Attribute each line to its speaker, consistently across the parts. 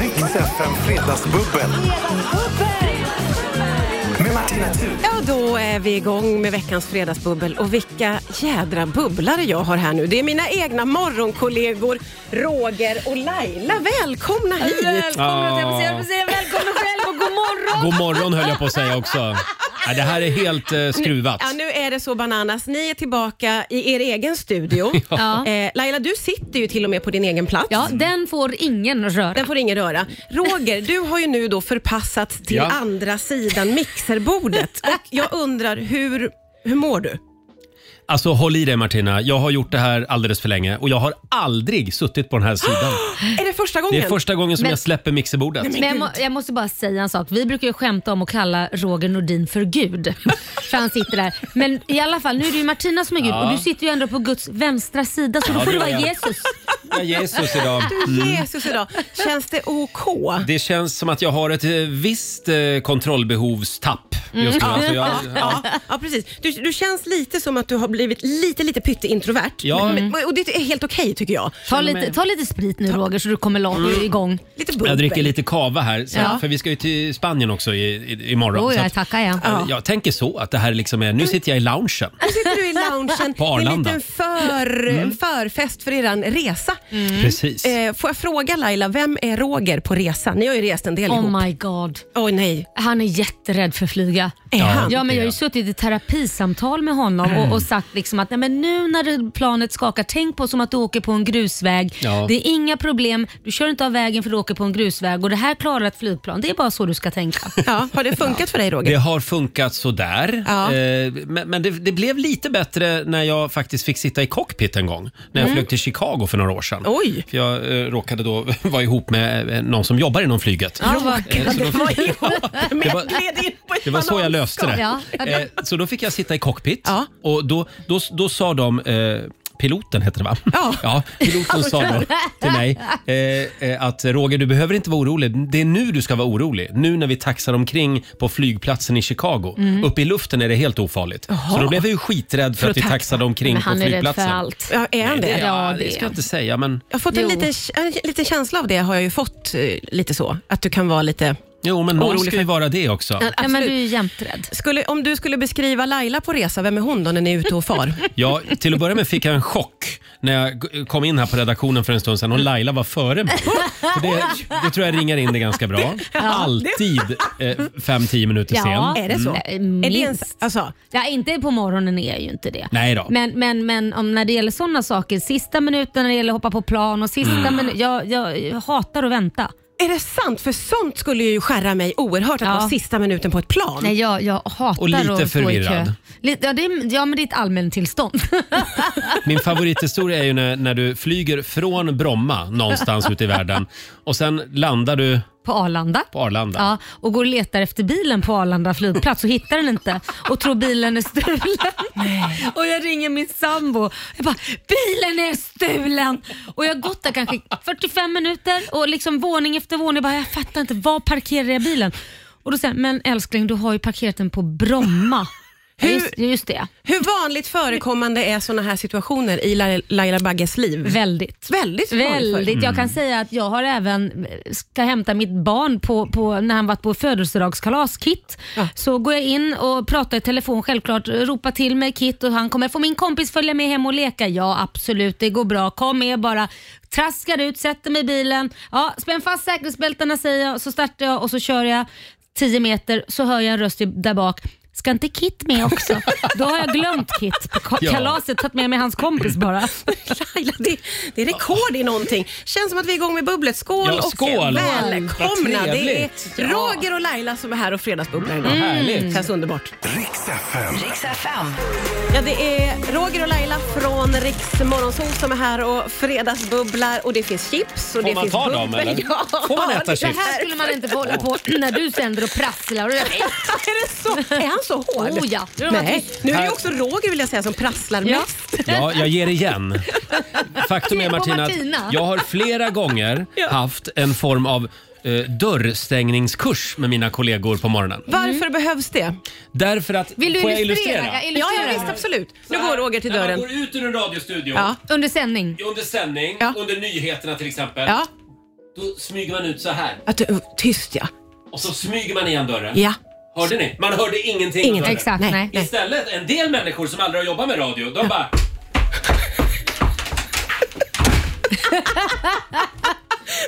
Speaker 1: Rix FM Fredagsbubbel med Martina Thun.
Speaker 2: Ja, då är vi igång med veckans fredagsbubbel och vilka jädra bubblare jag har här nu. Det är mina egna morgonkollegor Roger och Laila. Välkomna hit!
Speaker 3: Välkommen
Speaker 4: Ja.
Speaker 3: att jag får säga, jag får säga välkommen själv och god morgon!
Speaker 4: God morgon höll jag på att säga också. Ja, det här är helt eh, skruvat.
Speaker 2: Ja, nu är det så bananas. Ni är tillbaka i er egen studio.
Speaker 3: Ja.
Speaker 2: eh, Laila, du sitter ju till och med på din egen plats.
Speaker 3: Ja, den får ingen röra.
Speaker 2: Den får ingen röra. Roger, du har ju nu då förpassats till
Speaker 4: Ja.
Speaker 2: andra sidan mixerbordet. Och jag undrar, hur, hur mår du?
Speaker 4: Alltså håll i dig Martina, jag har gjort det här alldeles för länge och jag har aldrig suttit på den här sidan.
Speaker 2: Är det första gången?
Speaker 4: Det är första gången som
Speaker 3: Men-
Speaker 4: jag släpper mixerbordet.
Speaker 3: Men jag, må, jag måste bara säga en sak. Vi brukar ju skämta om att kalla Roger Nordin för Gud. För han sitter där. Men i alla fall, nu är det ju Martina som är Gud
Speaker 4: Ja.
Speaker 3: och du sitter ju ändå på Guds vänstra sida så då
Speaker 4: Ja,
Speaker 3: får
Speaker 4: det
Speaker 3: du vara
Speaker 4: gör jag.
Speaker 3: Jesus.
Speaker 4: Ja, Jesus idag. Mm.
Speaker 2: Jesus idag. Känns det OK?
Speaker 4: Det känns som att jag har ett eh, visst eh, kontrollbehovstapp just nu. Alltså, jag, ja.
Speaker 2: Ja, ja precis. Du, du känns lite som att du har blivit lite, lite pytteintrovert.
Speaker 4: Ja.
Speaker 2: Men- men- Och det är helt okej tycker jag.
Speaker 3: Ta lite, ta lite sprit nu Roger så du kommer långt
Speaker 4: Mm.
Speaker 3: igång.
Speaker 2: Lite bubbel.
Speaker 4: Jag dricker lite kava här, så,
Speaker 3: Ja.
Speaker 4: för vi ska ju till Spanien också i, i, imorgon.
Speaker 3: Oj,
Speaker 4: så
Speaker 3: jag
Speaker 4: att,
Speaker 3: tackar jag.
Speaker 2: Ja.
Speaker 4: jag tänker så att det här liksom är, nu sitter jag i loungen.
Speaker 2: Nu sitter du i loungen.
Speaker 4: På
Speaker 2: det är en
Speaker 4: Arlanda. Mm.
Speaker 2: liten för, förfest för er resa.
Speaker 4: Precis.
Speaker 2: Eh, får jag fråga Laila, vem är Roger på resan? Ni har ju rest en del ihop.
Speaker 3: Oh my god.
Speaker 2: Åh nej,
Speaker 3: Han är jätterädd för att flyga.
Speaker 2: är
Speaker 4: Ja.
Speaker 2: han?
Speaker 3: Ja, men jag har ju
Speaker 4: Ja.
Speaker 3: suttit i terapisamtal med honom och, och sagt liksom att nej, men nu när det- planet skakar, tänk på som att du åker på en grusväg.
Speaker 4: Ja.
Speaker 3: Det är inga problem, du kör inte av vägen för du åker på en grusväg och det här klarar ett flygplan. Det är bara så du ska tänka.
Speaker 2: Ja, har det funkat för dig
Speaker 4: Det
Speaker 2: Roger?
Speaker 4: har funkat sådär.
Speaker 2: Ja.
Speaker 4: Eh, men men det, det blev lite bättre när jag faktiskt fick sitta i cockpit en gång. När jag flög till Chicago för några år sedan.
Speaker 2: Mm. Oj.
Speaker 4: För jag eh, råkade då vara ihop med eh, någon som jobbar inom flyget. Eh,
Speaker 3: Ja, vad-
Speaker 4: Det var-
Speaker 2: gled in på ett
Speaker 4: Det var så
Speaker 2: bananskal.
Speaker 4: jag löste det.
Speaker 3: Ja.
Speaker 4: Eh, så då fick jag sitta i cockpit
Speaker 2: Ja.
Speaker 4: och då, då, då sa de eh, Piloten heter det va?
Speaker 2: Ja.
Speaker 4: piloten sa då till mig eh, eh, att Roger du behöver inte vara orolig. Det är nu du ska vara orolig. Nu när vi taxar omkring på flygplatsen i Chicago. Uppe i luften är det helt ofarligt. Så då blev jag ju skiträdd för, att vi
Speaker 2: att taxa.
Speaker 4: taxade omkring
Speaker 3: Men
Speaker 4: på
Speaker 3: han är rädd för
Speaker 4: flygplatsen. Eh,
Speaker 3: allt.
Speaker 2: Ja, är han det?
Speaker 4: Ja,
Speaker 3: Ja,
Speaker 4: det
Speaker 3: det-
Speaker 4: ska jag inte säga men
Speaker 2: Jag har fått en
Speaker 3: Jo.
Speaker 2: liten, en liten känsla av det har jag ju fått eh, lite så. Att du kan vara lite...
Speaker 4: jo men någon
Speaker 2: Orolig
Speaker 4: ska ju vara det också.
Speaker 3: Ja, men
Speaker 2: Absolut.
Speaker 3: du är ju jämträdd.
Speaker 2: Skulle, om du skulle beskriva Laila på resa, vem är hon då när ni är ute och far?
Speaker 4: Ja, till att börja med fick jag en chock när jag g- kom in här på redaktionen för en stund sedan och Laila var före mig. För det, det tror jag ringar in det ganska bra. Alltid 5-10 minuter
Speaker 3: Ja.
Speaker 4: sen.
Speaker 2: Är det så?
Speaker 3: Nej,
Speaker 2: Är det ens,
Speaker 3: minst.
Speaker 2: alltså,
Speaker 3: Ja, inte på morgonen är jag ju inte det.
Speaker 4: Nej då.
Speaker 3: Men, men, men om när det gäller sådana saker, sista minuten när det gäller att hoppa på plan och sista
Speaker 4: Mm.
Speaker 3: minuten. Jag, jag, jag hatar att vänta.
Speaker 2: är det sant? För sånt skulle ju skära mig oerhört att
Speaker 3: Ja.
Speaker 2: vara sista minuten på ett plan.
Speaker 3: Nej, jag, jag hatar
Speaker 4: Och lite
Speaker 3: att stå i
Speaker 4: förvirrad.
Speaker 3: kö. Lite, ja, det är, ja, men det är ett allmäntillstånd.
Speaker 4: Min favorithistoria är ju när, när du flyger från Bromma någonstans ute i världen och sen landar du
Speaker 3: på Arlanda.
Speaker 4: på Arlanda.
Speaker 3: Ja, och går och letar efter bilen på Arlanda flygplats och hittar den inte och tror bilen är stulen. och jag ringer min sambo. Jag bara, bilen är stulen! Och jag har gått där kanske 45 minuter och liksom våning efter våning. Jag bara, jag fattar inte, var parkerar jag bilen? Och då säger jag, men älskling du har ju parkerat den på Bromma. Ja,
Speaker 2: Hur-
Speaker 3: Just, just det,
Speaker 2: Hur vanligt förekommande är såna här situationer i La- Laila Bagges liv? Väldigt
Speaker 3: väldigt.
Speaker 2: vanligt. förekommande.
Speaker 3: Väldigt. Jag kan säga att jag har även, eh, ska hämta mitt barn på, på när han varit på födelsedagskalas, Kit.
Speaker 2: Ja.
Speaker 3: Så går jag in och pratar i telefon självklart, ropar till mig Kit och han kommer, får min kompis följa med hem och leka? Ja absolut, det går bra, kom med bara. Traskar ut, sätter mig i bilen, ja, spänn fast säkerhetsbältena säger jag, så startar jag och så kör jag 10 meter, så hör jag en röst i- där bak. Ska inte Kit med också? Då har jag glömt Kit på ka-
Speaker 4: Ja.
Speaker 3: kalaset, tagit med mig hans kompis bara.
Speaker 2: Laila, det, det är rekord i någonting. Känns som att vi är igång med bubblet. Skål,
Speaker 4: Ja, skål.
Speaker 2: och välkomna.
Speaker 4: Vad
Speaker 2: Det är
Speaker 4: trevligt.
Speaker 2: Roger och Laila som är här och fredagsbubblar idag.
Speaker 4: Mm. härligt.
Speaker 2: Känns underbart.
Speaker 1: Rix FM.
Speaker 2: Ja, det är Roger och Laila från Riks Morgonzoo som är här och fredagsbubblar och det finns chips och
Speaker 4: Får
Speaker 2: det
Speaker 4: man
Speaker 2: finns
Speaker 4: ta dem,
Speaker 2: bubbel.
Speaker 4: eller?
Speaker 2: Ja.
Speaker 4: Får man äta
Speaker 2: det
Speaker 3: Det
Speaker 4: chips?
Speaker 3: här skulle man inte få hålla på när du sänder och prasslar. Och
Speaker 2: Är, det så? är han så hård?
Speaker 3: Oh ja. Nu har man
Speaker 2: Nej,
Speaker 3: tyst.
Speaker 2: nu är det också Roger vill jag säga som prasslar
Speaker 3: Ja.
Speaker 2: mest.
Speaker 4: Ja, jag ger igen. Faktum
Speaker 3: Ge
Speaker 4: är
Speaker 3: på
Speaker 4: Martina,
Speaker 3: Martina.
Speaker 4: att jag har flera gånger haft en form av eh, dörrstängningskurs med mina kollegor på morgonen.
Speaker 2: Varför behövs det?
Speaker 4: Därför att,
Speaker 3: Vill du
Speaker 4: får
Speaker 3: illustrera?
Speaker 4: jag illustrera?
Speaker 3: Jag
Speaker 2: Ja,
Speaker 3: illustrerar.
Speaker 2: ja visst absolut. Nu går Roger till
Speaker 4: När man
Speaker 2: dörren.
Speaker 4: går ut ur en radiostudio,
Speaker 2: Ja.
Speaker 3: Under sändning.
Speaker 4: under sändning,
Speaker 2: Ja.
Speaker 4: under nyheterna till exempel.
Speaker 2: Ja.
Speaker 4: Då smyger man ut så här
Speaker 2: Att, du- tyst ja.
Speaker 4: och så smyger man igen dörren.
Speaker 2: Ja.
Speaker 4: Hörde ni? Man hörde ingenting.
Speaker 2: Ingenting.
Speaker 4: hörde.
Speaker 3: Exakt,
Speaker 2: Nej.
Speaker 3: nej.
Speaker 4: Istället, en del människor som aldrig har jobbat med radio, de bara...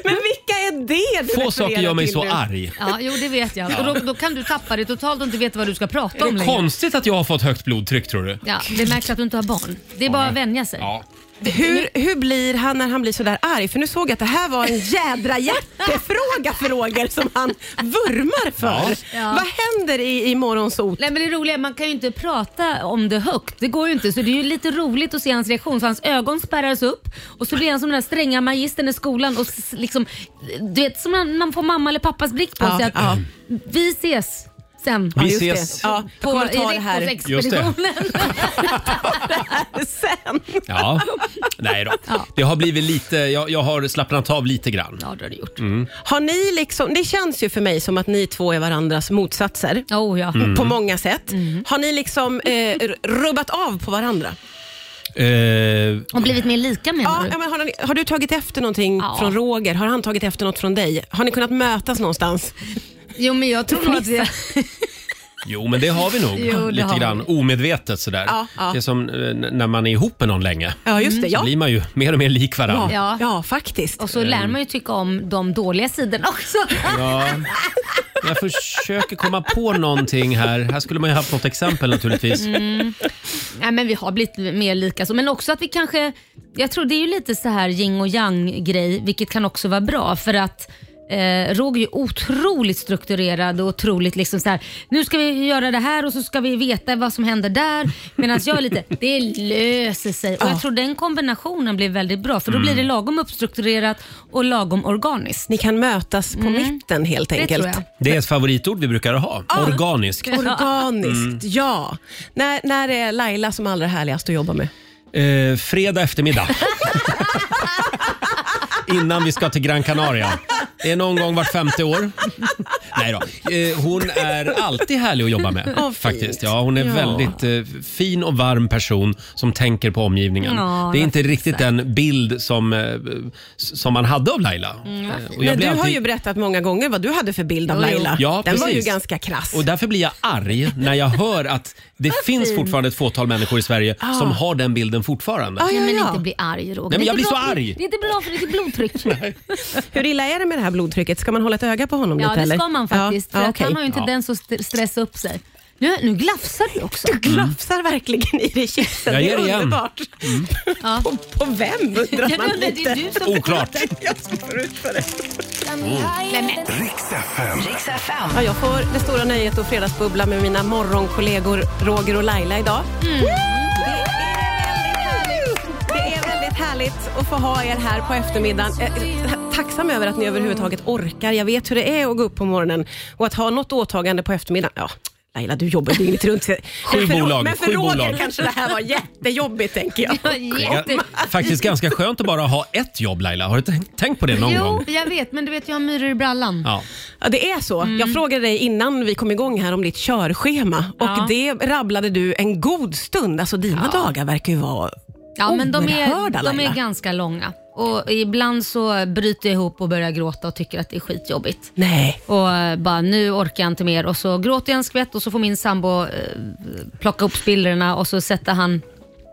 Speaker 2: Men vilka är det du
Speaker 4: Få saker
Speaker 2: refererar
Speaker 4: gör mig
Speaker 2: till
Speaker 4: så
Speaker 2: nu?
Speaker 4: arg.
Speaker 3: Ja, jo det vet jag. Och då, då kan du tappa det totalt och inte veta vad du ska prata om längre.
Speaker 4: Konstigt att jag har fått högt blodtryck tror du?
Speaker 3: Ja, det märks att du inte har barn. Det är bara att vänja sig.
Speaker 4: Ja.
Speaker 2: Hur, hur blir han när han blir sådär arg? För nu såg jag att det här var en jädra hjärtefråga för Roger som han vurmar för.
Speaker 3: Ja.
Speaker 2: Vad händer i, i morgonsot?
Speaker 3: Nej men det roliga är man kan ju inte prata om det högt. Det går ju inte. Så det är ju lite roligt att se hans reaktion. Så hans ögon spärras upp och så blir han som den där stränga magistern i skolan och s- liksom, du vet som när man får mamma eller pappas blick på
Speaker 2: Ja,
Speaker 3: sig. Att
Speaker 2: ja.
Speaker 3: Vi ses sen.
Speaker 4: Vi
Speaker 2: Just
Speaker 4: ses.
Speaker 2: Det. Ja, jag
Speaker 3: På
Speaker 2: kommer ta det här
Speaker 3: Eriksson-expeditionen.
Speaker 2: sen.
Speaker 4: Ja. Nej då. Det har blivit lite, jag, jag har slappnat av lite grann.
Speaker 3: Ja, det har du gjort.
Speaker 2: Har ni liksom, det känns ju för mig som att ni två är varandras motsatser.
Speaker 3: Oh, ja.
Speaker 4: Mm.
Speaker 2: På många sätt.
Speaker 3: Mm.
Speaker 2: Har ni liksom eh, r- rubbat av på varandra?
Speaker 4: Eh,
Speaker 3: Och blivit mer lika menar
Speaker 2: Ja,
Speaker 3: du?
Speaker 2: ja, men har, ni, har du tagit efter någonting
Speaker 3: Mm. Ja.
Speaker 2: från Roger? Har han tagit efter något från dig? Har ni kunnat mötas någonstans?
Speaker 3: Jo men jag tror nog att vi...
Speaker 4: jo men det har vi nog.
Speaker 3: Jo, det
Speaker 4: lite
Speaker 3: har vi.
Speaker 4: grann omedvetet sådär.
Speaker 2: Ja, ja.
Speaker 4: Det är som eh, n- när man är ihop med någon länge.
Speaker 2: Ja, just det.
Speaker 4: Mm. Så
Speaker 2: Ja,
Speaker 4: blir man ju mer och mer lik varandra.
Speaker 2: ja.
Speaker 3: Ja.
Speaker 2: ja faktiskt.
Speaker 3: Och så lär man ju tycka om de dåliga sidorna också.
Speaker 4: Ja. Jag försöker komma på någonting här. Här skulle man ju haft något exempel naturligtvis.
Speaker 2: Mm.
Speaker 3: Nej, men vi har blivit mer lika så. Men också att vi kanske, jag tror det är ju lite så här yin och yang grej, vilket kan också vara bra för att Eh, Roger är ju otroligt strukturerad och otroligt liksom så här. nu ska vi göra det här och så ska vi veta vad som händer där. Medan jag är lite, det löser sig. Och
Speaker 2: Ja.
Speaker 3: jag tror den kombinationen blir väldigt bra för då blir det
Speaker 4: Mm.
Speaker 3: lagom uppstrukturerat och lagom organiskt.
Speaker 2: Ni kan mötas på mitten helt
Speaker 3: Mm. Det
Speaker 2: enkelt.
Speaker 3: tror jag.
Speaker 4: Det är ett favoritord vi brukar ha. Organisk. Mm.
Speaker 2: Organiskt, ja. När, när är Laila som allra härligast att jobba med?
Speaker 4: Eh, fredag eftermiddag. Innan vi ska till Gran Canaria. Det är någon gång vart femte år. Nej då. Eh, hon är alltid härlig att jobba med.
Speaker 2: Åh, fint.
Speaker 4: faktiskt. Ja, hon är
Speaker 2: Ja.
Speaker 4: väldigt eh, fin och varm person som tänker på omgivningen.
Speaker 3: Ja,
Speaker 4: det är
Speaker 3: jag
Speaker 4: inte riktigt den bild som, eh, s- som man hade av Laila. Eh, och
Speaker 2: Mm, Men du
Speaker 4: blir
Speaker 2: har
Speaker 4: alltid-
Speaker 2: ju berättat många gånger vad du hade för bild av
Speaker 3: Jo, jo.
Speaker 2: Laila.
Speaker 4: Ja,
Speaker 2: Den var ju
Speaker 4: precis.
Speaker 2: ganska krass.
Speaker 4: Och därför blir jag arg när jag hör att det finns fortfarande ett fåtal människor i Sverige
Speaker 2: Ah.
Speaker 4: som har den bilden fortfarande.
Speaker 2: Ja,
Speaker 3: Nej,
Speaker 2: ja,
Speaker 3: men
Speaker 2: ja.
Speaker 3: inte bli arg Roger.
Speaker 4: Nej, men
Speaker 3: Det är
Speaker 4: jag
Speaker 3: inte
Speaker 4: blir
Speaker 3: bra
Speaker 4: så
Speaker 3: för-
Speaker 4: arg.
Speaker 3: Det är inte bra för ditt blodtryck.
Speaker 2: Hur illa är det med det här blodtrycket? Ska man hålla ett öga på honom
Speaker 3: Ja,
Speaker 2: lite?
Speaker 3: det
Speaker 2: eller?
Speaker 3: ska man faktiskt.
Speaker 2: Ja,
Speaker 3: för
Speaker 2: ja,
Speaker 3: att
Speaker 2: okej.
Speaker 3: han har ju en tendens att st- stressa upp sig. Nu, nu glafsar du också.
Speaker 2: Glafsar verkligen i dig kisten.
Speaker 4: Jag
Speaker 2: Det
Speaker 4: ger
Speaker 2: är
Speaker 4: det igen. Mm.
Speaker 2: underbart.
Speaker 3: Ja.
Speaker 2: På, på vem
Speaker 3: Jag
Speaker 2: undrar man
Speaker 3: undrar, det är
Speaker 2: lite?
Speaker 3: du som...
Speaker 4: Oklart.
Speaker 2: Jag som får ut för det.
Speaker 3: Nej, men,
Speaker 1: Riks FM.
Speaker 5: Riks FM.
Speaker 2: Ja, jag får det stora nöjet att fredagsbubbla med mina morgonkollegor Roger och Laila idag.
Speaker 4: Mm.
Speaker 2: Det är väldigt härligt att få ha er här på eftermiddagen. Jag är Tacksam över att ni överhuvudtaget orkar. Jag vet hur det är att gå upp på morgonen och att ha något åtagande på eftermiddagen. Ja, Laila, du jobbar dygnet runt. Sju men för,
Speaker 4: bolag,
Speaker 2: Men för
Speaker 4: sju
Speaker 2: Roger
Speaker 4: bolag.
Speaker 2: kanske det här var jättejobbigt, tänker jag.
Speaker 3: jätte...
Speaker 4: Ja, faktiskt ganska skönt att bara ha ett jobb Laila. Har du t- tänkt på det någon
Speaker 3: Jo,
Speaker 4: gång?
Speaker 3: jag vet, men du vet jag har myror i brallan.
Speaker 4: Ja.
Speaker 2: Ja, det är så. Jag
Speaker 3: Mm.
Speaker 2: frågade dig innan vi kom igång här om ditt körschema och
Speaker 3: Ja.
Speaker 2: det rabblade du en god stund. Alltså dina dagar verkar ju vara
Speaker 3: Ja, men
Speaker 2: Oh,
Speaker 3: de är,
Speaker 2: oerhörda
Speaker 3: de
Speaker 2: Laila.
Speaker 3: är ganska långa. Och ibland så bryter jag ihop och börjar gråta och tycker att det är skitjobbigt.
Speaker 2: Nej.
Speaker 3: Och eh, bara nu orkar jag inte mer och så gråter jag en skvätt och så får min sambo eh, plocka upp spillrorna och så sätter han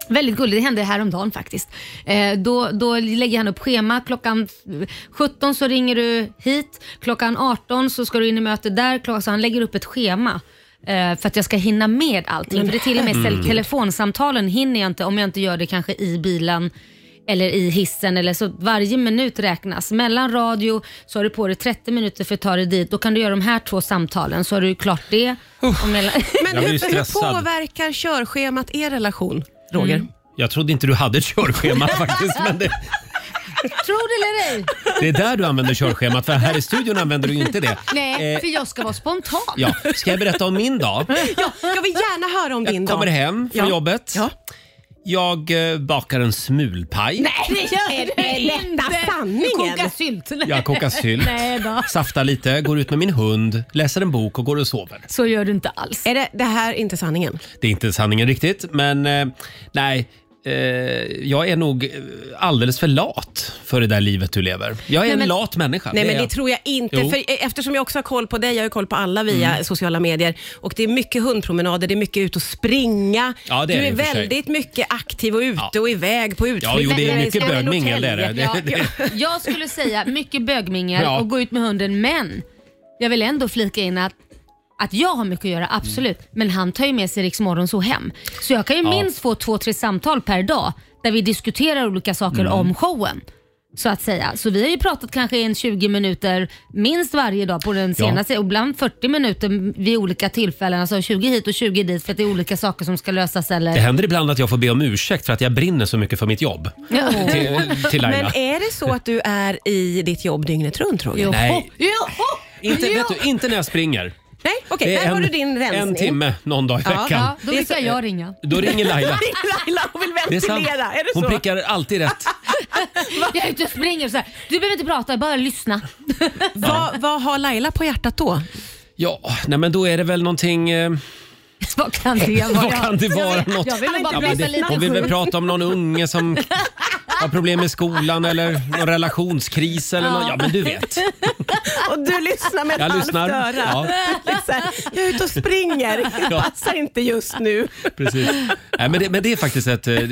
Speaker 3: Väldigt gulligt, det hände häromdagen faktiskt. Eh, då, då lägger han upp schema. Klockan 17 så ringer du hit, klockan 18 så ska du in i möte där. Klo- Så han lägger upp ett schema eh, för att jag ska hinna med allting. för det är till och med mm. telefonsamtalen hinner jag inte om jag inte gör det kanske i bilen eller i hissen eller så varje minut räknas. Mellan radio så har du på dig 30 minuter för att ta dig dit. Då kan du göra de här två samtalen så har du ju klart det. Och mellan...
Speaker 2: Men
Speaker 4: Jag
Speaker 2: hur,
Speaker 4: blir
Speaker 2: hur
Speaker 4: stressad.
Speaker 2: påverkar körschemat er relation, Roger?
Speaker 3: Mm.
Speaker 4: Jag trodde inte du hade ett körschema faktiskt. Men det,
Speaker 3: Tror det eller ej?
Speaker 4: det är där du använder körschemat för här i studion använder du ju inte det.
Speaker 3: Nej,
Speaker 4: Eh,
Speaker 3: för jag ska vara spontan.
Speaker 4: ja. Ska jag berätta om min dag?
Speaker 2: Ja, jag vill gärna höra om din
Speaker 4: Jag kommer
Speaker 2: dag.
Speaker 4: hem från
Speaker 2: Ja.
Speaker 4: jobbet.
Speaker 2: Ja.
Speaker 4: Jag eh, bakar en smulpaj.
Speaker 3: Det gör det
Speaker 2: inte.
Speaker 3: Du
Speaker 2: sanningen.
Speaker 3: kokar sylt.
Speaker 4: Jag kokar sylt,
Speaker 3: Nej då.
Speaker 4: saftar lite, går ut med min hund, läser en bok och går och sover.
Speaker 3: Så gör du inte alls.
Speaker 2: Är det, det här är inte sanningen?
Speaker 4: Det är inte sanningen riktigt, men eh, nej. eh, jag är nog eh, alldeles för lat för det där livet du lever. Jag är
Speaker 3: Nej,
Speaker 4: en
Speaker 3: men-
Speaker 4: lat människa.
Speaker 2: Nej,
Speaker 4: är
Speaker 2: men det
Speaker 4: jag.
Speaker 2: tror jag inte.
Speaker 4: Jo. Mm.
Speaker 2: För eh, eftersom jag också har koll på dig, jag har ju koll på alla via sociala medier. Och Det är mycket hundpromenader, det är mycket ut och springa.
Speaker 4: Ja, det är
Speaker 2: du
Speaker 4: det
Speaker 2: är
Speaker 4: i och för sig.
Speaker 2: väldigt mycket aktiv och ute och iväg på utflykter.
Speaker 4: Ja, jo, det är
Speaker 2: i
Speaker 4: mycket
Speaker 2: Scandic
Speaker 4: bögmingel, det
Speaker 2: Hotel.
Speaker 4: är det.
Speaker 3: Ja,
Speaker 4: det, det.
Speaker 3: ja. Jag skulle säga mycket bögmingel
Speaker 4: Ja.
Speaker 3: och gå ut med hunden men jag vill ändå flika in att att jag har mycket att göra, absolut. Men han tar ju med sig Rix så hem. Så jag kan ju minst få två, tre samtal per dag där vi diskuterar olika saker
Speaker 4: Mm.
Speaker 3: om showen. Så att säga. Så vi har ju pratat kanske en 20 minuter minst varje dag på den senaste och ibland 40 minuter vid olika tillfällen. Alltså 20 hit och 20 dit för att det är olika saker som ska lösas eller...
Speaker 4: Det händer ibland att jag får be om ursäkt för att jag brinner så mycket för mitt jobb. Till, till
Speaker 2: Men
Speaker 4: Laila.
Speaker 2: är det så att du är i ditt jobb dygnet runt, Roger?
Speaker 3: Joho.
Speaker 4: Nej.
Speaker 3: Joho!
Speaker 4: Inte,
Speaker 3: Jo.
Speaker 4: vet du, inte när jag springer.
Speaker 2: Nej, okej.
Speaker 4: Det är
Speaker 2: där har
Speaker 4: en-
Speaker 2: du din rensning.
Speaker 4: En timme någon dag i
Speaker 2: Ja,
Speaker 4: veckan.
Speaker 3: Ja, då
Speaker 2: Det är
Speaker 3: brukar
Speaker 2: så-
Speaker 3: jag ringa.
Speaker 4: Då ringer Laila.
Speaker 2: Laila, hon vill
Speaker 4: Det är sant.
Speaker 2: ventilera. Är det
Speaker 4: Hon
Speaker 2: så?
Speaker 4: prickar alltid rätt.
Speaker 3: Jag är ute och springer och så här. Du behöver inte prata, bara lyssna.
Speaker 2: Vad, vad har Laila på hjärtat då?
Speaker 4: Ja, nej men då är det väl någonting... Eh,
Speaker 3: Vad kan det vara?
Speaker 4: vad kan det vara?
Speaker 3: Jag vill-
Speaker 4: Något?
Speaker 3: Jag ville bara
Speaker 4: Ja,
Speaker 3: prata
Speaker 4: men det, hon
Speaker 3: lite
Speaker 4: vill väl
Speaker 3: sjukt.
Speaker 4: prata om någon unge som har problem med skolan eller någon relationskris eller något. Ja, men du vet.
Speaker 2: Och du lyssnar med ett
Speaker 4: Jag
Speaker 2: halvt
Speaker 4: lyssnar.
Speaker 2: öra.
Speaker 4: Ja.
Speaker 2: Lite så här, jag är ute och springer, det
Speaker 4: Ja.
Speaker 2: passar inte just nu.
Speaker 4: Precis. Nej, men, det, men det är faktiskt ett, eh, det,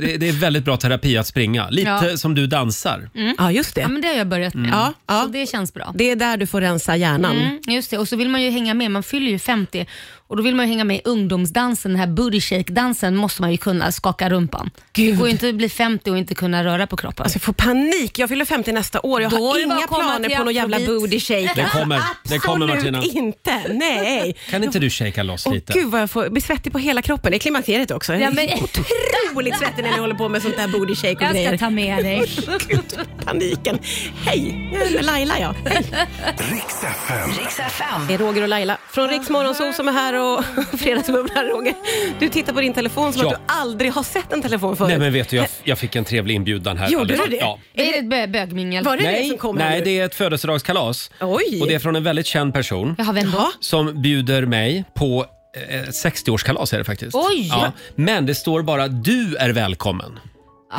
Speaker 4: det, det är väldigt bra terapi att springa. Lite
Speaker 3: Ja.
Speaker 4: som du dansar.
Speaker 2: Mm. Ja, just
Speaker 3: Ja,
Speaker 2: det.
Speaker 3: men det har jag börjat med.
Speaker 2: Mm. Ja, ja.
Speaker 3: Så det känns bra.
Speaker 2: Det är där du får rensa hjärnan. Alltså,
Speaker 3: Mm, just det, och så vill man ju hänga med. Man fyller ju 50 och då vill man ju hänga med i ungdomsdansen, den här booty shake-dansen måste man ju kunna skaka rumpan. Det
Speaker 2: Gud.
Speaker 3: går ju inte att bli 50 och inte kunna röra på kroppen.
Speaker 2: Alltså, jag får panik. Jag fyller 50 nästa år. Jag
Speaker 3: Då är
Speaker 2: har
Speaker 3: det bara
Speaker 2: inga
Speaker 3: att komma
Speaker 2: planer
Speaker 3: till
Speaker 2: på någon jävla
Speaker 3: Afrobeat.
Speaker 2: booty shake.
Speaker 4: Det kommer, det kommer
Speaker 2: Absolut
Speaker 4: Martina.
Speaker 2: inte. Nej.
Speaker 4: Kan inte du shakea loss
Speaker 2: Åh
Speaker 4: lite?
Speaker 2: gud vad jag får, blir svettig på hela kroppen. Det är klimakteriet också. Jag
Speaker 3: Ja,
Speaker 2: är
Speaker 3: men-
Speaker 2: otroligt svettig när jag håller på med sånt där booty shake och
Speaker 3: jag ska
Speaker 2: grejer.
Speaker 3: ta med dig.
Speaker 2: Gud, paniken. Hej, jag är med Laila ja. Hej.
Speaker 1: Riks FM.
Speaker 5: Riks FM.
Speaker 2: Det är Roger och Laila från Riks Morgonzoo som är här och Fredagsbubblar. Roger, du tittar på din telefon som
Speaker 4: Ja.
Speaker 2: att du aldrig har sett en telefon förut.
Speaker 4: Nej men vet du, jag, jag fick en trevlig inbjudan här.
Speaker 2: Gjorde
Speaker 4: alldeles-
Speaker 2: du det?
Speaker 4: Ja.
Speaker 3: Är det ett bö- bögmingel?
Speaker 2: Var det det
Speaker 4: Nej,
Speaker 2: som kom här
Speaker 4: nej
Speaker 2: nu?
Speaker 4: det är ett födelsedagskalas.
Speaker 2: Oj.
Speaker 4: Och det är från en väldigt känd person
Speaker 3: Jaha, vem då?
Speaker 2: Jaha.
Speaker 4: som bjuder mig på eh, 60-årskalas är det faktiskt.
Speaker 3: Oj.
Speaker 4: Ja. Men det står bara du är välkommen.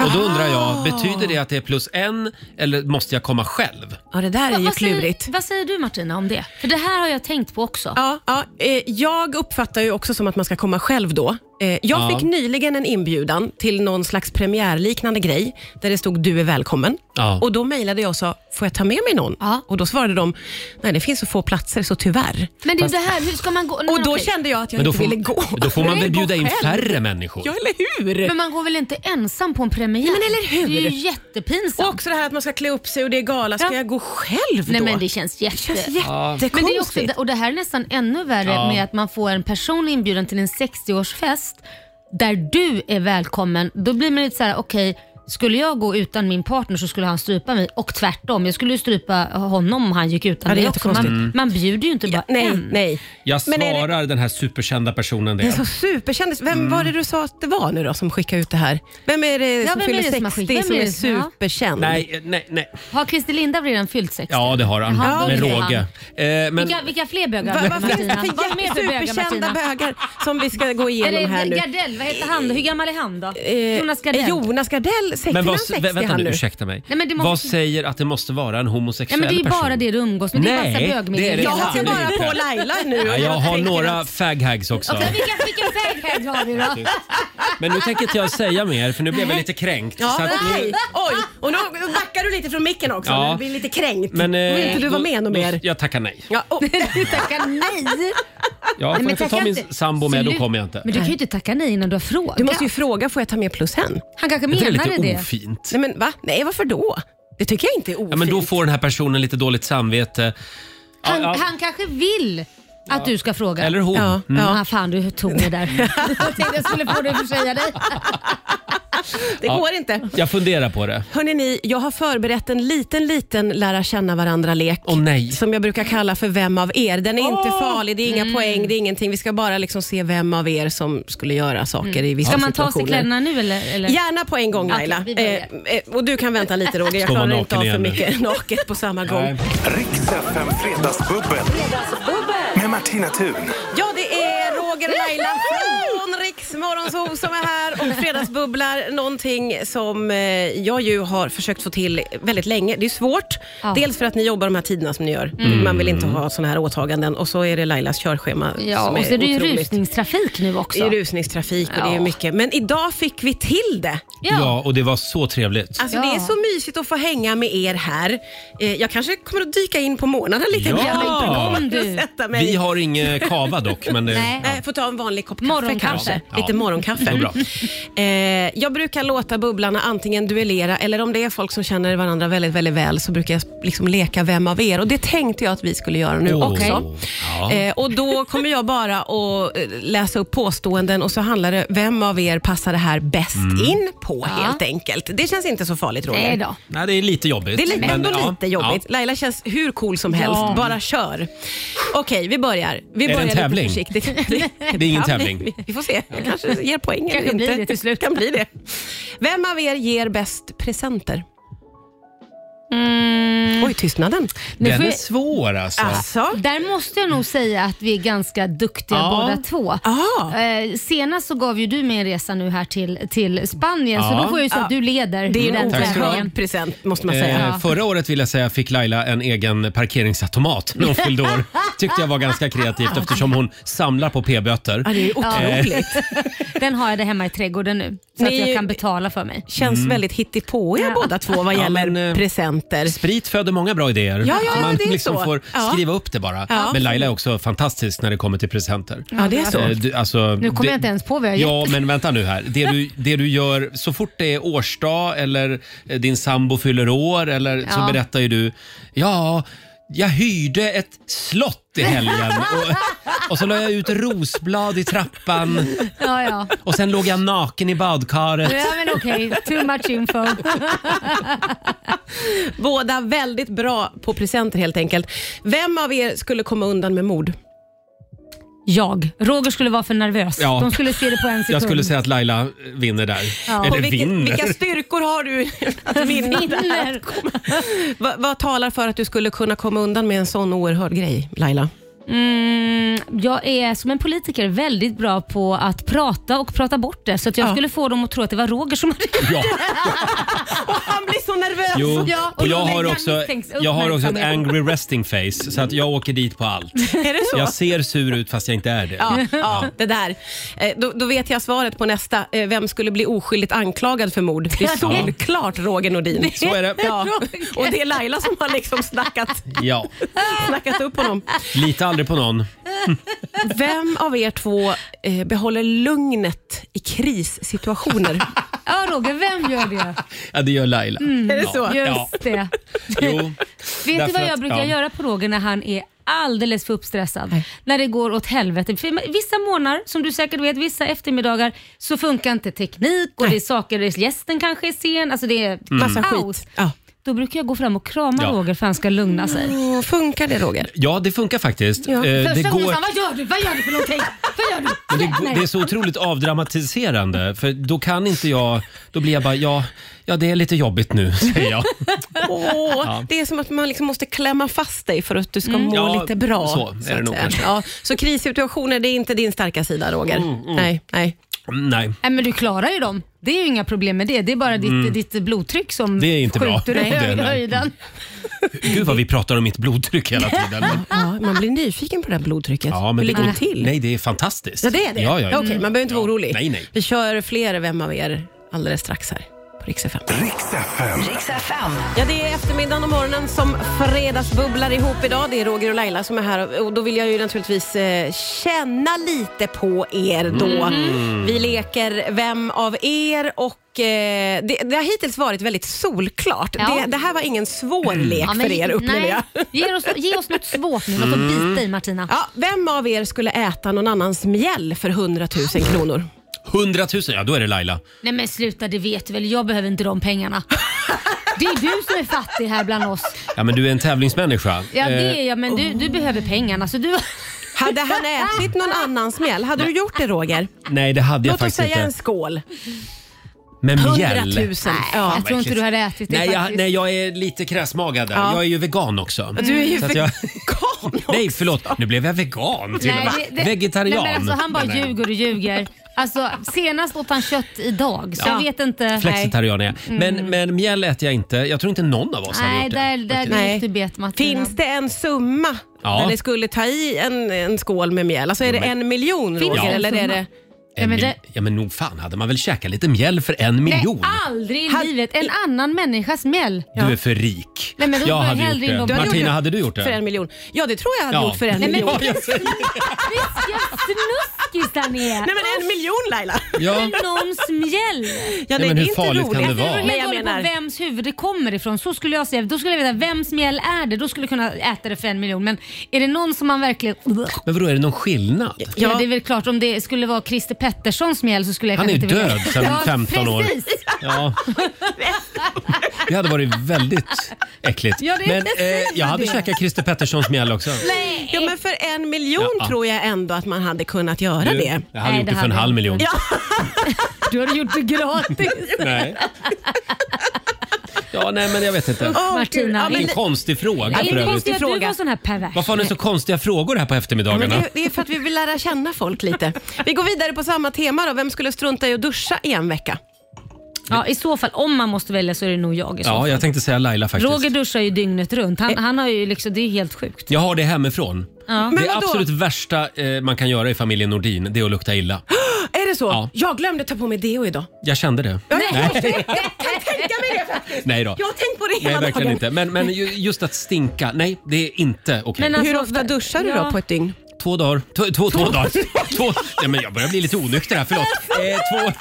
Speaker 4: Och då undrar
Speaker 2: Ah.
Speaker 4: jag, betyder det att det är plus en eller måste jag komma själv?
Speaker 2: Ja, det där är ju
Speaker 3: vad, säger,
Speaker 2: klurigt.
Speaker 3: vad säger du Martina om det? För det här har jag tänkt på också.
Speaker 2: Ja, ja, eh, jag uppfattar ju också som att man ska komma själv då. Eh, jag
Speaker 4: Ja.
Speaker 2: fick nyligen en inbjudan till någon slags premiärliknande grej där det stod du är välkommen.
Speaker 4: Ja.
Speaker 2: Och Då mejlade jag och sa, får jag ta med mig någon?
Speaker 3: Ja.
Speaker 2: Och Då svarade de, nej det finns så få platser så tyvärr.
Speaker 3: Men det är ju det här, hur ska man gå? Nej,
Speaker 2: Och Då
Speaker 3: okej.
Speaker 2: kände jag att jag
Speaker 4: då
Speaker 2: inte ville gå.
Speaker 4: får, då får man
Speaker 2: Nej,
Speaker 4: väl
Speaker 2: gå
Speaker 4: bjuda in
Speaker 2: själv.
Speaker 4: färre människor?
Speaker 2: Ja, eller hur?
Speaker 3: Men man går väl inte ensam på en premiär?
Speaker 2: Men eller hur?
Speaker 3: Det är ju jättepinsamt.
Speaker 2: Och också det här att man ska klä upp sig och det är gala. Ska
Speaker 3: Ja.
Speaker 2: jag gå själv då?
Speaker 3: Nej men det känns jätte...
Speaker 2: Det känns
Speaker 3: men det, är också,
Speaker 2: jättekonstigt.
Speaker 3: och det här är nästan ännu värre
Speaker 4: Ja.
Speaker 3: med att man får en personlig inbjudan till en 60-årsfest där du är välkommen. Då blir man lite så här: okej, skulle jag gå utan min partner så skulle han strypa mig och tvärtom. Jag skulle ju strypa honom om han gick utan
Speaker 2: Ja, det är
Speaker 3: mig också. Man,
Speaker 2: jättekonstigt.
Speaker 3: man bjuder ju inte bara
Speaker 2: Nej,
Speaker 3: en.
Speaker 2: nej.
Speaker 4: Jag
Speaker 2: Men är det-
Speaker 4: svarar den här superkända personen
Speaker 2: Det är
Speaker 4: det.
Speaker 2: så superkändis. Vem
Speaker 4: Mm.
Speaker 2: var det du sa att det var nu då som skickade ut det här? Vem är det
Speaker 3: Ja,
Speaker 2: som
Speaker 3: vem
Speaker 2: fyller
Speaker 3: är det som har
Speaker 2: 60
Speaker 3: skickat?
Speaker 2: som
Speaker 3: Vem
Speaker 2: är
Speaker 3: är det? Ja.
Speaker 2: superkänd?
Speaker 4: Nej, nej, nej.
Speaker 3: Har Christer Lindarw redan fyllt 60?
Speaker 4: Ja, det har han.
Speaker 3: Jaha, då
Speaker 4: Med
Speaker 3: är det han.
Speaker 4: råge. Eh, men,
Speaker 3: Vilka, vilka fler bögar
Speaker 2: Va,
Speaker 3: har du,
Speaker 2: vad finns det
Speaker 3: Martina?
Speaker 2: för
Speaker 3: Vad är det mer
Speaker 2: jätte-
Speaker 3: för bögar
Speaker 2: superkända
Speaker 3: Martina?
Speaker 2: bögar som vi ska gå
Speaker 3: Är
Speaker 2: igenom här
Speaker 3: det
Speaker 2: nu?
Speaker 3: Gardell? Vad heter han då? Hur gammal är han då?
Speaker 2: Eh,
Speaker 3: Jonas Gardell?
Speaker 2: Jonas Gardell, fyller
Speaker 4: men
Speaker 2: han
Speaker 4: vad,
Speaker 2: 60
Speaker 4: vä- vänta
Speaker 2: han
Speaker 4: nu,
Speaker 2: nu?
Speaker 4: ursäkta mig.
Speaker 3: Nej, men det måste-
Speaker 4: Vad säger att det måste vara en
Speaker 3: Ja,
Speaker 4: homosexuell
Speaker 3: men det är ju
Speaker 4: person?
Speaker 3: bara det du umgås med. Det är ju
Speaker 4: Nej,
Speaker 3: massa
Speaker 4: det är
Speaker 3: bögmingel.
Speaker 4: det
Speaker 2: Jag
Speaker 4: fan
Speaker 2: ser bara
Speaker 4: inte.
Speaker 2: på Laila nu.
Speaker 4: Ja, jag har
Speaker 2: tänker
Speaker 4: några
Speaker 2: att-
Speaker 4: faghags också.
Speaker 3: Okej, vilka, vilka fagheads har vi då?
Speaker 4: Men nu tänker inte jag säga mer för nu blev jag lite kränkt.
Speaker 2: Ja,
Speaker 4: så att Mm. nu-
Speaker 2: nej. Oj, och nu nu backar du lite från micken också.
Speaker 4: Ja.
Speaker 2: när Du blir lite kränkt.
Speaker 4: men, eh,
Speaker 2: Vill inte du vara
Speaker 4: då-
Speaker 2: med och
Speaker 4: då-
Speaker 2: mer?
Speaker 4: Jag tackar nej.
Speaker 2: Ja, och,
Speaker 3: Du tackar nej.
Speaker 4: Ja, får
Speaker 3: men
Speaker 4: jag inte ta
Speaker 3: tacka
Speaker 4: min
Speaker 3: inte.
Speaker 4: sambo med då
Speaker 3: Slut.
Speaker 4: kommer jag inte.
Speaker 3: Men du kan ju inte tacka nej innan du har frågat.
Speaker 2: du måste ju fråga, får jag ta med plus hen?
Speaker 3: Han kanske
Speaker 4: det är
Speaker 3: menade
Speaker 4: lite
Speaker 3: det.
Speaker 4: ofint.
Speaker 2: Nej, men va? Nej, varför då? Det tycker jag inte är ofint.
Speaker 4: Ja, men då får den här personen lite dåligt samvete. Ja,
Speaker 3: Han,
Speaker 4: ja,
Speaker 3: han kanske vill att du ska fråga.
Speaker 4: Eller hon.
Speaker 2: Ja,
Speaker 4: Mm.
Speaker 3: Ja, fan du tog det där. jag tänkte jag skulle få dig att säga dig.
Speaker 2: Det går inte.
Speaker 4: Jag funderar på det.
Speaker 2: Hörrni, ni, jag har förberett en liten, liten lära känna varandra-lek.
Speaker 4: Åh nej.
Speaker 2: Som jag brukar kalla för Vem av er? Den är inte farlig, det är inga
Speaker 3: Mm.
Speaker 2: poäng, det är ingenting. Vi ska bara liksom se vem av er som skulle göra saker i vissa
Speaker 3: Mm. Ska man ta
Speaker 2: situationer.
Speaker 3: sig kläderna nu eller? eller?
Speaker 2: Gärna på en gång
Speaker 3: Okej,
Speaker 2: Laila.
Speaker 3: vi
Speaker 2: eh,
Speaker 3: börjar.
Speaker 2: eh, och du kan vänta lite Roger, jag
Speaker 4: Ska vara
Speaker 2: klarar inte
Speaker 4: naken
Speaker 2: av för
Speaker 4: igen nu.
Speaker 2: mycket naket på samma gång.
Speaker 4: Nej.
Speaker 1: Riks FM Fredagsbubbel. Med Martina Thun.
Speaker 2: Ja, det är Roger och Laila från Riks Morgonzoo som är här och Fredagsbubblar, någonting som eh, jag ju har försökt få till väldigt länge. Det är svårt,
Speaker 3: Ja. Mm.
Speaker 2: dels för att ni jobbar de här tiderna som ni gör. Man vill inte ha sådana här åtaganden och så är det Lailas körschema
Speaker 3: Ja,
Speaker 2: som
Speaker 3: och så är det ju
Speaker 2: otroligt.
Speaker 3: rusningstrafik nu
Speaker 2: Det är
Speaker 3: också.
Speaker 2: rusningstrafik och det är ju
Speaker 3: Ja.
Speaker 2: mycket. Men idag fick vi till det.
Speaker 4: Ja, och det var så trevligt.
Speaker 2: Alltså
Speaker 3: Ja.
Speaker 2: Det är så mysigt att få hänga med er här. Eh, jag kanske kommer att dyka in på morgnarna lite
Speaker 4: Ja.
Speaker 2: mer.
Speaker 3: Om du.
Speaker 2: Och sätta mig.
Speaker 4: Vi har inget kava dock, men det,
Speaker 3: Nej.
Speaker 2: Eh, Får ta en vanlig kopp kaffe
Speaker 3: Morgonkaffe.
Speaker 2: kanske.
Speaker 4: Ja.
Speaker 2: Lite morgonkaffe.
Speaker 4: Så bra.
Speaker 2: Eh, jag brukar låta bubblarna antingen duellera eller om det är folk som känner varandra väldigt, väldigt väl så brukar jag liksom leka vem av er. Och det tänkte jag att vi skulle göra nu
Speaker 4: Åh,
Speaker 2: också.
Speaker 4: ja.
Speaker 2: Eh, och då kommer jag bara att eh, läsa upp påståenden och så handlar det vem av er passar det här bäst
Speaker 4: Mm.
Speaker 2: in på
Speaker 3: Ja.
Speaker 2: helt enkelt. Det känns inte så farligt Roger.
Speaker 3: Nej då.
Speaker 4: nej, det är lite jobbigt.
Speaker 2: Det är lite,
Speaker 4: men,
Speaker 2: ändå
Speaker 4: ja,
Speaker 2: lite jobbigt. Laila känns hur cool som helst.
Speaker 3: Ja.
Speaker 2: Bara kör. Okej, vi börjar. Vi
Speaker 4: Är det
Speaker 2: börjar
Speaker 4: en tävling?
Speaker 2: Lite försiktigt. Det,
Speaker 4: Det är ingen
Speaker 2: kan
Speaker 4: tävling.
Speaker 2: bli. Vi får se. Jag kanske ger poäng eller
Speaker 3: Kanske blir
Speaker 2: inte.
Speaker 3: det till slut.
Speaker 2: kan bli det. Vem av er ger bäst presenter? Oj, tystnaden.
Speaker 4: Ja. Den
Speaker 3: får
Speaker 4: är
Speaker 3: jag-
Speaker 4: svår Mm. alltså.
Speaker 2: Alltså.
Speaker 3: Där måste jag nog säga att vi är ganska duktiga
Speaker 4: Ja.
Speaker 3: båda två.
Speaker 2: Ah,
Speaker 3: Eh, senast så gav ju du mig en resa nu här till, till Spanien
Speaker 4: Ja.
Speaker 3: så då får jag ju säga att du leder
Speaker 2: det är ju en
Speaker 3: den
Speaker 4: Mm. Tack ska du ha.
Speaker 3: tävlingen.
Speaker 2: oerhörd present måste man säga.
Speaker 4: Eh, förra året vill jag säga fick Laila en egen parkeringsautomat när hon fyllde år. Tyckte jag var ganska kreativt eftersom hon samlar på p-böter.
Speaker 2: Ja, det är ju otroligt.
Speaker 4: Eh.
Speaker 3: Den har jag där hemma i trädgården nu så
Speaker 2: Ni-
Speaker 3: att jag kan betala för mig.
Speaker 2: Känns väldigt hittipåiga
Speaker 3: Ja.
Speaker 2: båda två vad
Speaker 4: Mm. Ja,
Speaker 2: gäller
Speaker 4: men, eh,
Speaker 2: presenter.
Speaker 4: Sprit föder många bra idéer.
Speaker 2: Ja, ja, ja,
Speaker 4: man
Speaker 2: det är
Speaker 4: liksom
Speaker 2: så.
Speaker 4: får
Speaker 2: Ja.
Speaker 4: skriva upp det bara.
Speaker 2: Ja.
Speaker 4: Men Laila är också fantastisk när det kommer till presenter.
Speaker 2: Ja, det är så.
Speaker 4: Eh, du, alltså,
Speaker 3: Nu kommer jag inte ens på vad jag har
Speaker 4: Ja, men vänta nu här. Det du, det du gör så fort det är årsdag eller eh, din sambo fyller år eller så
Speaker 3: Ja.
Speaker 4: berättar ju du ja, jag hyrde ett slott i helgen och, och så la jag ut rosblad i trappan
Speaker 3: Ja, ja.
Speaker 4: och sen låg jag naken i badkaret.
Speaker 3: ja men okej, too much info.
Speaker 2: Båda väldigt bra på presenter helt enkelt. Vem av er skulle komma undan med mord?
Speaker 3: Jag. Roger skulle vara för nervös.
Speaker 4: Ja.
Speaker 3: De skulle se det på en sekund.
Speaker 4: Jag skulle säga att Laila eh, vinner där.
Speaker 3: Ja.
Speaker 4: Eller
Speaker 2: Och vilka,
Speaker 4: vinner.
Speaker 2: vilka styrkor har du att vinna?
Speaker 3: Vinner.
Speaker 2: Va, vad talar för att du skulle kunna komma undan med en sån oerhörd grej, Laila?
Speaker 3: Mm, jag är som en politiker väldigt bra på att prata och prata bort det. Så att jag
Speaker 2: Ja.
Speaker 3: skulle få dem att tro att det var Roger som hade
Speaker 4: Ja.
Speaker 2: Och han blir så nervös!
Speaker 4: Jo,
Speaker 3: Ja, och
Speaker 4: och jag
Speaker 3: då
Speaker 4: har,
Speaker 3: lägger
Speaker 4: också,
Speaker 3: han misstänks-
Speaker 4: jag har också ett
Speaker 3: uppmärksamhet.
Speaker 4: angry resting face så att jag åker dit på allt.
Speaker 2: Är det så?
Speaker 4: Jag ser sur ut fast jag inte är det.
Speaker 2: Ja, ja, det där. Eh, Då, då vet jag svaret på nästa. Eh, Vem skulle bli oskyldigt anklagad för mord? Det är solklart Roger Nordin.
Speaker 4: Så är det.
Speaker 2: Ja. Och det är Laila som har liksom snackat,
Speaker 4: Ja.
Speaker 2: snackat upp honom.
Speaker 4: Lita aldrig på någon.
Speaker 2: Vem av er två eh, behåller lugnet i krissituationer?
Speaker 3: Ja Roger, vem gör det?
Speaker 4: Ja, det gör Laila.
Speaker 2: Är det så?
Speaker 3: Just
Speaker 4: Ja.
Speaker 3: det.
Speaker 4: Jo.
Speaker 3: Vet
Speaker 4: Därför
Speaker 3: du vad
Speaker 4: att-
Speaker 3: jag brukar
Speaker 4: ja.
Speaker 3: göra på Roger när han är alldeles för uppstressad? När det går åt helvete. För vissa månader, som du säkert vet, vissa eftermiddagar så funkar inte teknik och det är saker, det är- gästen kanske är sen, alltså det är
Speaker 4: Mm.
Speaker 2: Massa
Speaker 3: kaos.
Speaker 2: skit. Ja.
Speaker 3: Då brukar jag gå fram och krama
Speaker 4: Ja.
Speaker 3: Roger för han ska lugna sig.
Speaker 2: Åh, Funkar det Roger?
Speaker 4: Ja, det funkar faktiskt. Eh,
Speaker 3: Första
Speaker 4: Det,
Speaker 3: gången
Speaker 4: går,
Speaker 3: sa han, vad gör du? Vad gör du för någonting? Vad gör du?
Speaker 4: men det,
Speaker 2: Ah,
Speaker 4: går- det är så otroligt avdramatiserande för då kan inte jag, då blir jag bara ja, ja det är lite jobbigt nu säger jag.
Speaker 2: Åh, Det är som att man liksom måste klämma fast dig för att du ska må
Speaker 4: Ja,
Speaker 2: lite bra.
Speaker 4: så är det
Speaker 2: att
Speaker 4: nog
Speaker 2: säga.
Speaker 4: kanske.
Speaker 2: ja, så krissituationer, det är inte din starka sida Roger. Nej, nej.
Speaker 4: Mm, Nej,
Speaker 3: Nej men du klarar ju dem. Det är ju inga problem med det. Det är bara ditt, ditt blodtryck som
Speaker 4: Mm. Det är inte bra.
Speaker 3: skjuter i
Speaker 4: Nej.
Speaker 3: hög-
Speaker 4: Det- nej.
Speaker 3: höjden.
Speaker 4: gud vad vi pratar om mitt blodtryck hela tiden.
Speaker 2: Ja, man blir nyfiken på det här blodtrycket.
Speaker 4: Ja, men
Speaker 2: Hur ligger
Speaker 4: går-
Speaker 2: det till?
Speaker 4: Nej, det är fantastiskt.
Speaker 2: Ja, det är det?
Speaker 4: Ja, ja, ja.
Speaker 2: Okej, man behöver inte vara
Speaker 4: Ja.
Speaker 2: orolig.
Speaker 4: Nej, nej.
Speaker 2: Vi kör fler Vem av er alldeles strax här på Rix FM.
Speaker 1: Riks FM.
Speaker 5: Riks FM.
Speaker 2: Ja, det är eftermiddagen och morgonen som fredagsbubblar ihop idag. Det är Roger och Laila som är här och då vill jag ju naturligtvis eh, känna lite på er då.
Speaker 4: Mm.
Speaker 2: Vi leker Vem av er? och eh, det, det har hittills varit väldigt solklart.
Speaker 3: Ja.
Speaker 2: Det, det här var ingen svår
Speaker 4: Mm.
Speaker 2: lek
Speaker 3: Ja, men-
Speaker 2: för er upplever
Speaker 3: nej.
Speaker 2: jag. Mm.
Speaker 3: Ge oss, ge oss något svårt nu, något att bita i Martina.
Speaker 2: Ja, vem av er skulle äta någon annans mjäll för 100 000 kronor?
Speaker 4: 100 000, ja då är det Laila.
Speaker 3: Nej men sluta, det vet du väl. Jag behöver inte de pengarna. Det är du som är fattig här bland oss.
Speaker 4: Ja men du är en tävlingsmänniska.
Speaker 3: Ja
Speaker 4: Eh,
Speaker 3: det är jag, men
Speaker 2: oh.
Speaker 3: du, du behöver pengarna. Så du...
Speaker 2: Hade han ätit någon annans mjäll? Hade du gjort det Roger?
Speaker 4: nej det hade jag
Speaker 2: Låt oss
Speaker 4: faktiskt
Speaker 2: säga
Speaker 4: inte.
Speaker 2: en skål.
Speaker 4: Men
Speaker 2: 100
Speaker 4: mjäll.
Speaker 2: 000. Ja.
Speaker 3: jag tror inte du hade ätit det
Speaker 4: nej, jag,
Speaker 3: faktiskt.
Speaker 4: nej jag är lite kräsmagad där.
Speaker 2: Ja.
Speaker 4: Jag är ju vegan också.
Speaker 2: Du är ju
Speaker 4: Så att jag-
Speaker 2: vegan också.
Speaker 4: Nej förlåt, nu blev jag vegan till och
Speaker 3: Nej,
Speaker 4: med.
Speaker 3: det- det-
Speaker 4: Vegetarian.
Speaker 3: Nej, men alltså, han bara
Speaker 4: menar jag.
Speaker 3: ljuger och ljuger. Alltså, senast åt han kött idag, så
Speaker 4: Ja.
Speaker 3: jag vet inte.
Speaker 4: Flexitarian är jag. Men, men mjäll äter jag inte. Jag tror inte någon av oss hade
Speaker 3: Mm. Nej,
Speaker 4: gjort
Speaker 3: där, där
Speaker 4: det. faktiskt.
Speaker 2: Nej.
Speaker 3: gick du bet Martina.
Speaker 2: Finns det en summa
Speaker 4: Ja.
Speaker 2: där ni skulle ta i en, en skål med mjäll? Alltså är det en miljon
Speaker 3: Finns
Speaker 2: Roger?
Speaker 3: det en
Speaker 2: Eller är
Speaker 3: summa?
Speaker 2: det...
Speaker 4: En
Speaker 3: Ja, men
Speaker 4: mil-
Speaker 3: det-
Speaker 4: Ja men nog fan hade man väl käkat lite mjäll för en miljon?
Speaker 3: Nej, ah, aldrig i
Speaker 2: Han-
Speaker 3: livet. En annan människas mjäll.
Speaker 4: Du är för rik.
Speaker 3: Nej, men då
Speaker 4: jag
Speaker 3: får jag
Speaker 4: hade
Speaker 3: hellre in
Speaker 4: gjort
Speaker 3: dem
Speaker 4: det.
Speaker 3: på-
Speaker 4: Martina,
Speaker 2: Jag
Speaker 4: hade du gjort det?
Speaker 2: För en miljon? Ja, det tror jag hade gjort för en
Speaker 4: Nej, men-
Speaker 2: miljon.
Speaker 4: Ja, jag säger-
Speaker 3: Vilka snuskis han är!
Speaker 2: Nej men en miljon Laila!
Speaker 4: ja.
Speaker 3: För någons mjäll.
Speaker 2: Ja, det
Speaker 4: men
Speaker 2: är
Speaker 4: hur
Speaker 2: inte
Speaker 4: farligt
Speaker 2: roligt.
Speaker 4: kan det
Speaker 3: Det beror
Speaker 4: vara?
Speaker 2: Men
Speaker 3: helt
Speaker 2: jag
Speaker 3: och hållet
Speaker 2: menar-
Speaker 3: på vems huvud det kommer ifrån. Så skulle jag säga. Då skulle jag veta vems mjäll är det. Då skulle jag kunna äta det för en miljon. Men är det någon som man verkligen...
Speaker 4: Men vadå, är det någon skillnad?
Speaker 3: Ja.
Speaker 2: Ja.
Speaker 3: det är väl klart om det skulle vara Christer Petterssons mjäll så skulle jag
Speaker 4: Han är
Speaker 3: kanske
Speaker 4: ju
Speaker 3: inte vilja-
Speaker 4: död sedan 15 år.
Speaker 3: Precis.
Speaker 4: Ja. Det hade varit väldigt äckligt.
Speaker 3: Ja, det är
Speaker 4: men eh,
Speaker 3: inte synd
Speaker 4: jag
Speaker 3: med
Speaker 4: hade
Speaker 3: det.
Speaker 4: käkat Christer Petterssons mjäll också.
Speaker 3: Nej.
Speaker 2: Ja, men för en miljon
Speaker 4: Ja.
Speaker 2: tror jag ändå att man hade kunnat göra
Speaker 4: Du,
Speaker 2: det.
Speaker 4: Jag hade
Speaker 3: Nej,
Speaker 4: gjort
Speaker 3: det
Speaker 4: det för en
Speaker 3: hade
Speaker 4: halv
Speaker 3: jag
Speaker 4: miljon.
Speaker 3: inte. Du har gjort det gratis.
Speaker 4: Nej. Ja, nej men jag vet inte.
Speaker 2: Åh,
Speaker 3: Martina.
Speaker 2: gud. Ja, men,
Speaker 4: Vilken konstig fråga
Speaker 3: Det
Speaker 4: för
Speaker 3: är
Speaker 4: övrigt.
Speaker 3: konstigt att du
Speaker 2: fråga.
Speaker 3: var sån här pervers.
Speaker 4: Varför har ni så konstiga frågor här på
Speaker 2: men
Speaker 4: eftermiddagarna?
Speaker 2: det, det är för att vi vill lära känna folk lite. Vi går vidare på samma tema då. Vem skulle strunta i att duscha i en vecka?
Speaker 3: Ja, I så fall, om man måste välja så är det nog jag. I så
Speaker 4: Ja,
Speaker 3: fall.
Speaker 4: jag tänkte säga Laila faktiskt.
Speaker 3: Roger duschar ju dygnet runt. Han, han har ju liksom, det är helt sjukt.
Speaker 4: Jag har det hemifrån.
Speaker 3: Ja.
Speaker 2: Men
Speaker 4: det
Speaker 2: vadå?
Speaker 4: absolut värsta eh, man kan göra i familjen Nordin, det är att lukta illa.
Speaker 2: Är det så?
Speaker 4: Ja.
Speaker 2: Jag glömde ta på mig deo idag.
Speaker 4: Jag kände det.
Speaker 2: Ja, jag, jag, jag kan tänka mig det faktiskt.
Speaker 4: Nej då.
Speaker 2: Jag har tänkt på det
Speaker 4: Nej,
Speaker 2: hela
Speaker 4: verkligen
Speaker 2: dagen.
Speaker 4: inte. Men, men ju- just att stinka, nej det är inte okej.
Speaker 3: Men alltså, att-
Speaker 2: Hur ofta duschar du då
Speaker 3: Ja.
Speaker 2: på ett dygn?
Speaker 4: Två dagar. Två, två, två dagar. Två, nej, men jag börjar bli lite onykter här, förlåt. Eh, två,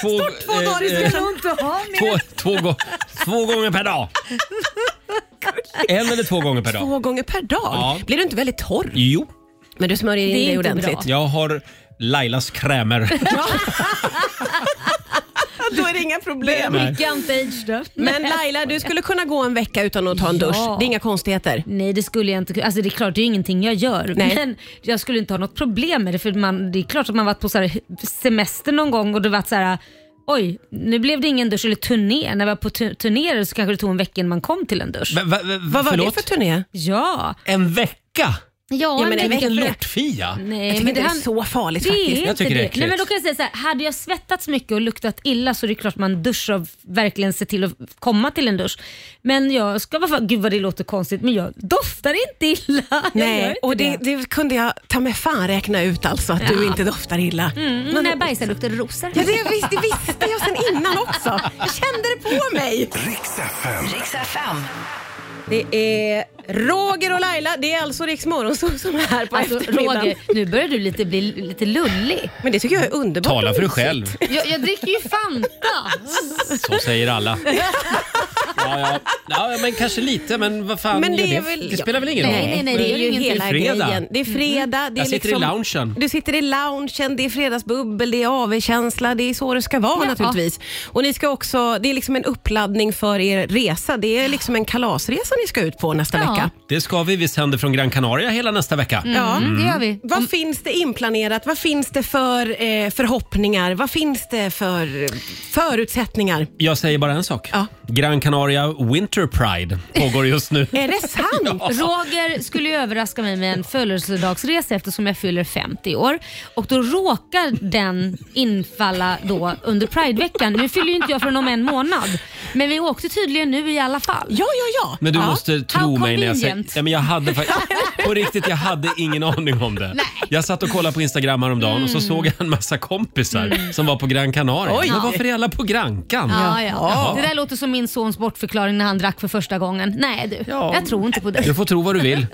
Speaker 4: två,
Speaker 2: två dagar i
Speaker 4: eh,
Speaker 2: stället.
Speaker 3: inte ha
Speaker 4: två, två, gå- två gånger per dag. En eller två gånger per dag.
Speaker 2: Två gånger per dag?
Speaker 4: Ja.
Speaker 2: Blir du inte väldigt torr?
Speaker 4: Jo,
Speaker 2: Men du smörjer in
Speaker 3: Det är
Speaker 2: dig
Speaker 3: inte
Speaker 2: ordentligt.
Speaker 4: jag har Lailas krämer.
Speaker 2: Då är det inga problem.
Speaker 3: Gigant age då.
Speaker 2: Men Laila, du skulle kunna gå en vecka utan att ta en dusch.
Speaker 3: Ja.
Speaker 2: Det är inga konstigheter.
Speaker 3: Nej det skulle jag inte kunna- Alltså det är klart det är ingenting jag gör.
Speaker 2: Nej.
Speaker 3: Men jag skulle inte ha något problem med det för man, det är klart att man varit på så här semester någon gång och det varit så här. Oj, nu blev det ingen dusch eller turné. När vi var på tu- turnéer så kanske det tog en vecka innan man kom till en dusch.
Speaker 4: Va, va, va,
Speaker 2: Vad var
Speaker 4: förlåt?
Speaker 2: det för turné?
Speaker 3: Ja.
Speaker 4: En vecka?
Speaker 3: Ja,
Speaker 2: men en
Speaker 4: Vilken
Speaker 2: vecka.
Speaker 4: lortfia!
Speaker 3: Nej,
Speaker 2: Jag tycker
Speaker 3: men
Speaker 2: inte det är
Speaker 3: han-
Speaker 2: så farligt
Speaker 3: Det är
Speaker 2: faktiskt.
Speaker 3: inte
Speaker 4: Jag tycker det är
Speaker 3: det.
Speaker 4: äckligt.
Speaker 3: Nej, men då kan jag säga så här, hade jag svettats mycket och luktat illa så är det klart man duschar och verkligen ser till att komma till en dusch. Men jag ska vara för, gud vad det låter konstigt, men jag doftar inte illa. Jag gör
Speaker 2: Nej,
Speaker 3: inte
Speaker 2: och det, det kunde jag ta med fan räkna ut alltså, att du inte doftar illa.
Speaker 3: Mm, och när jag bajsar luktar det rosor.
Speaker 2: Ja, det, visst, det visste jag sen innan också. Jag kände det på mig.
Speaker 1: Riks FM.
Speaker 5: Riks FM.
Speaker 2: Det är Roger och Laila, det är alltså Rix Morgonzoo som är här på
Speaker 3: Alltså
Speaker 2: eftermiddagen.
Speaker 3: Roger, nu börjar du lite bli lite lullig.
Speaker 2: Men det tycker jag är underbart.
Speaker 4: Tala för dig själv.
Speaker 3: Jag, jag dricker ju Fanta.
Speaker 4: Så säger alla. Ja, ja. ja men kanske lite, men vad fan
Speaker 2: Men
Speaker 4: gör
Speaker 2: det
Speaker 4: det?
Speaker 2: är väl-
Speaker 4: det spelar väl ingen
Speaker 3: Nej,
Speaker 4: roll?
Speaker 3: nej, nej,
Speaker 2: Det är ju
Speaker 3: Det är Mm.
Speaker 2: hela
Speaker 4: fredag.
Speaker 2: grejen. Det är fredag. Det är
Speaker 4: Jag sitter i
Speaker 2: liksom,
Speaker 4: loungen.
Speaker 2: Du sitter i loungen, det är fredagsbubbel, det är AV-känsla. Det är så det ska vara
Speaker 3: Ja.
Speaker 2: naturligtvis. Och ni ska också, det är liksom en uppladdning för er resa. Det är liksom en kalasresa ni ska ut på nästa
Speaker 3: Ja.
Speaker 2: vecka.
Speaker 4: Det ska vi. Vi sänder från Gran Canaria hela nästa vecka.
Speaker 3: Ja, det gör vi.
Speaker 2: Vad
Speaker 4: Mm.
Speaker 2: finns det inplanerat? Vad finns det för eh, förhoppningar? Vad finns det för eh, förutsättningar?
Speaker 4: Jag säger bara en sak.
Speaker 2: Ja.
Speaker 4: Gran Canaria Winter Pride pågår just nu.
Speaker 2: Är det sant?
Speaker 3: Roger skulle ju överraska mig med en födelsedagsresa eftersom jag fyller 50 år. Och då råkar den infalla då under Prideveckan. Nu fyller ju inte jag förrän om en månad. Men vi åkte tydligen nu i alla fall.
Speaker 2: Ja, ja, ja.
Speaker 4: Men du
Speaker 2: ja.
Speaker 4: måste tro mig när jag säger...
Speaker 3: convenient.
Speaker 4: Ja, men jag hade fakt- på riktigt, jag hade ingen aning om det. Jag satt och kollade på Instagram häromdagen och så såg jag
Speaker 3: Mm.
Speaker 4: en massa kompisar som var på Gran Canaria.
Speaker 2: Oj.
Speaker 4: Men varför är alla på Grankan?
Speaker 3: Ja, ja. Det där låter som min sons bortförklaring när han drack för första gången. Nej du,
Speaker 4: Ja.
Speaker 3: jag tror inte på det.
Speaker 4: Du får tro vad du vill.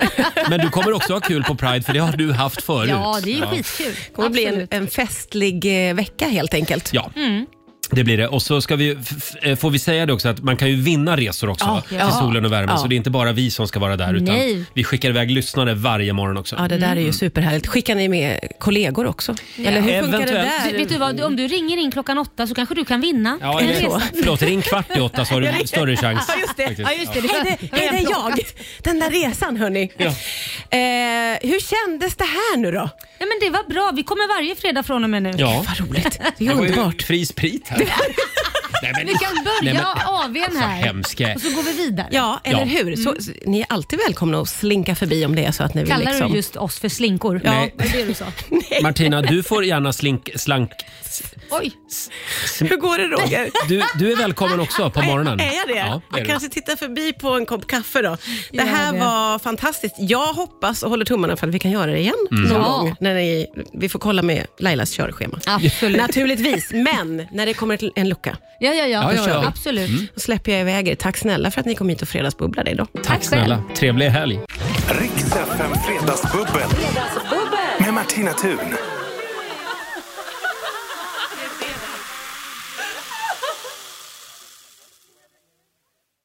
Speaker 4: Men du kommer också ha kul på Pride för det har du haft förut.
Speaker 3: Ja, det är ju skitkul.
Speaker 2: Det kommer bli en,
Speaker 3: Absolut.
Speaker 2: en festlig eh, vecka helt enkelt.
Speaker 4: Ja. Mm. Det blir det. Och så ska vi, f- f- eh, får vi säga det också att man kan ju vinna resor också va?
Speaker 2: ja.
Speaker 4: till solen och värmen.
Speaker 2: Ja.
Speaker 4: Så det är inte bara vi som ska vara där utan
Speaker 3: Nej.
Speaker 4: vi skickar iväg lyssnare varje morgon också.
Speaker 2: Ja, det där är ju superhärligt. Skickar ni med kollegor också? Eller hur funkar
Speaker 4: Eventuellt.
Speaker 2: det
Speaker 3: Du,
Speaker 2: där?
Speaker 3: vet du vad, om du ringer in klockan åtta så kanske du kan vinna.
Speaker 4: Ja,
Speaker 3: en
Speaker 4: eller,
Speaker 3: resa.
Speaker 4: förlåt, ring kvart i åtta så har du större chans.
Speaker 2: Ja, just det.
Speaker 4: faktiskt.
Speaker 3: Ja, just det.
Speaker 2: Är
Speaker 3: det,
Speaker 2: det, är det jag? Den där resan hörni.
Speaker 4: Ja.
Speaker 2: Eh, hur kändes det här nu då?
Speaker 3: Nej, men det var bra. Vi kommer varje fredag från och med nu.
Speaker 4: Ja.
Speaker 2: Vad roligt. Det är
Speaker 4: Det var ju
Speaker 2: underbart.
Speaker 4: fri sprit här. Nej, men-
Speaker 3: Vi kan
Speaker 4: Nej,
Speaker 3: börja
Speaker 4: men- Alltså,
Speaker 3: AWn här
Speaker 4: hemska.
Speaker 3: och så går vi vidare.
Speaker 2: Ja, eller
Speaker 4: Ja.
Speaker 2: hur? Så, så, ni är alltid välkomna att slinka förbi om det är så att ni vill.
Speaker 3: Mm. Kallar
Speaker 2: liksom.
Speaker 3: du just oss för slinkor?
Speaker 4: Nej.
Speaker 3: Det är det du sa.
Speaker 4: Martina, du får gärna slink, slank...
Speaker 3: Oj,
Speaker 2: Hur går det Roger?
Speaker 4: Du, du är välkommen också på morgonen.
Speaker 2: Är jag det?
Speaker 4: Ja, det är
Speaker 2: jag
Speaker 4: du.
Speaker 2: kanske tittar förbi på en kopp kaffe då. Det
Speaker 3: Gör
Speaker 2: här
Speaker 3: det.
Speaker 2: var fantastiskt. Jag hoppas och håller tummarna för att vi kan göra det igen
Speaker 4: Mm.
Speaker 2: någon
Speaker 3: Ja.
Speaker 2: gång. När ni, vi får kolla med Lailas körschema.
Speaker 3: absolut.
Speaker 2: Naturligtvis, men när det kommer till en lucka
Speaker 3: Ja, ja, ja.
Speaker 4: ja, ja. Mm.
Speaker 3: Absolut.
Speaker 2: så släpper jag iväg er. Tack snälla för att ni kom hit och fredagsbubblade idag.
Speaker 4: Tack snälla. Trevlig helg.
Speaker 1: Riks FM Fredagsbubbel. Med Martina Thun.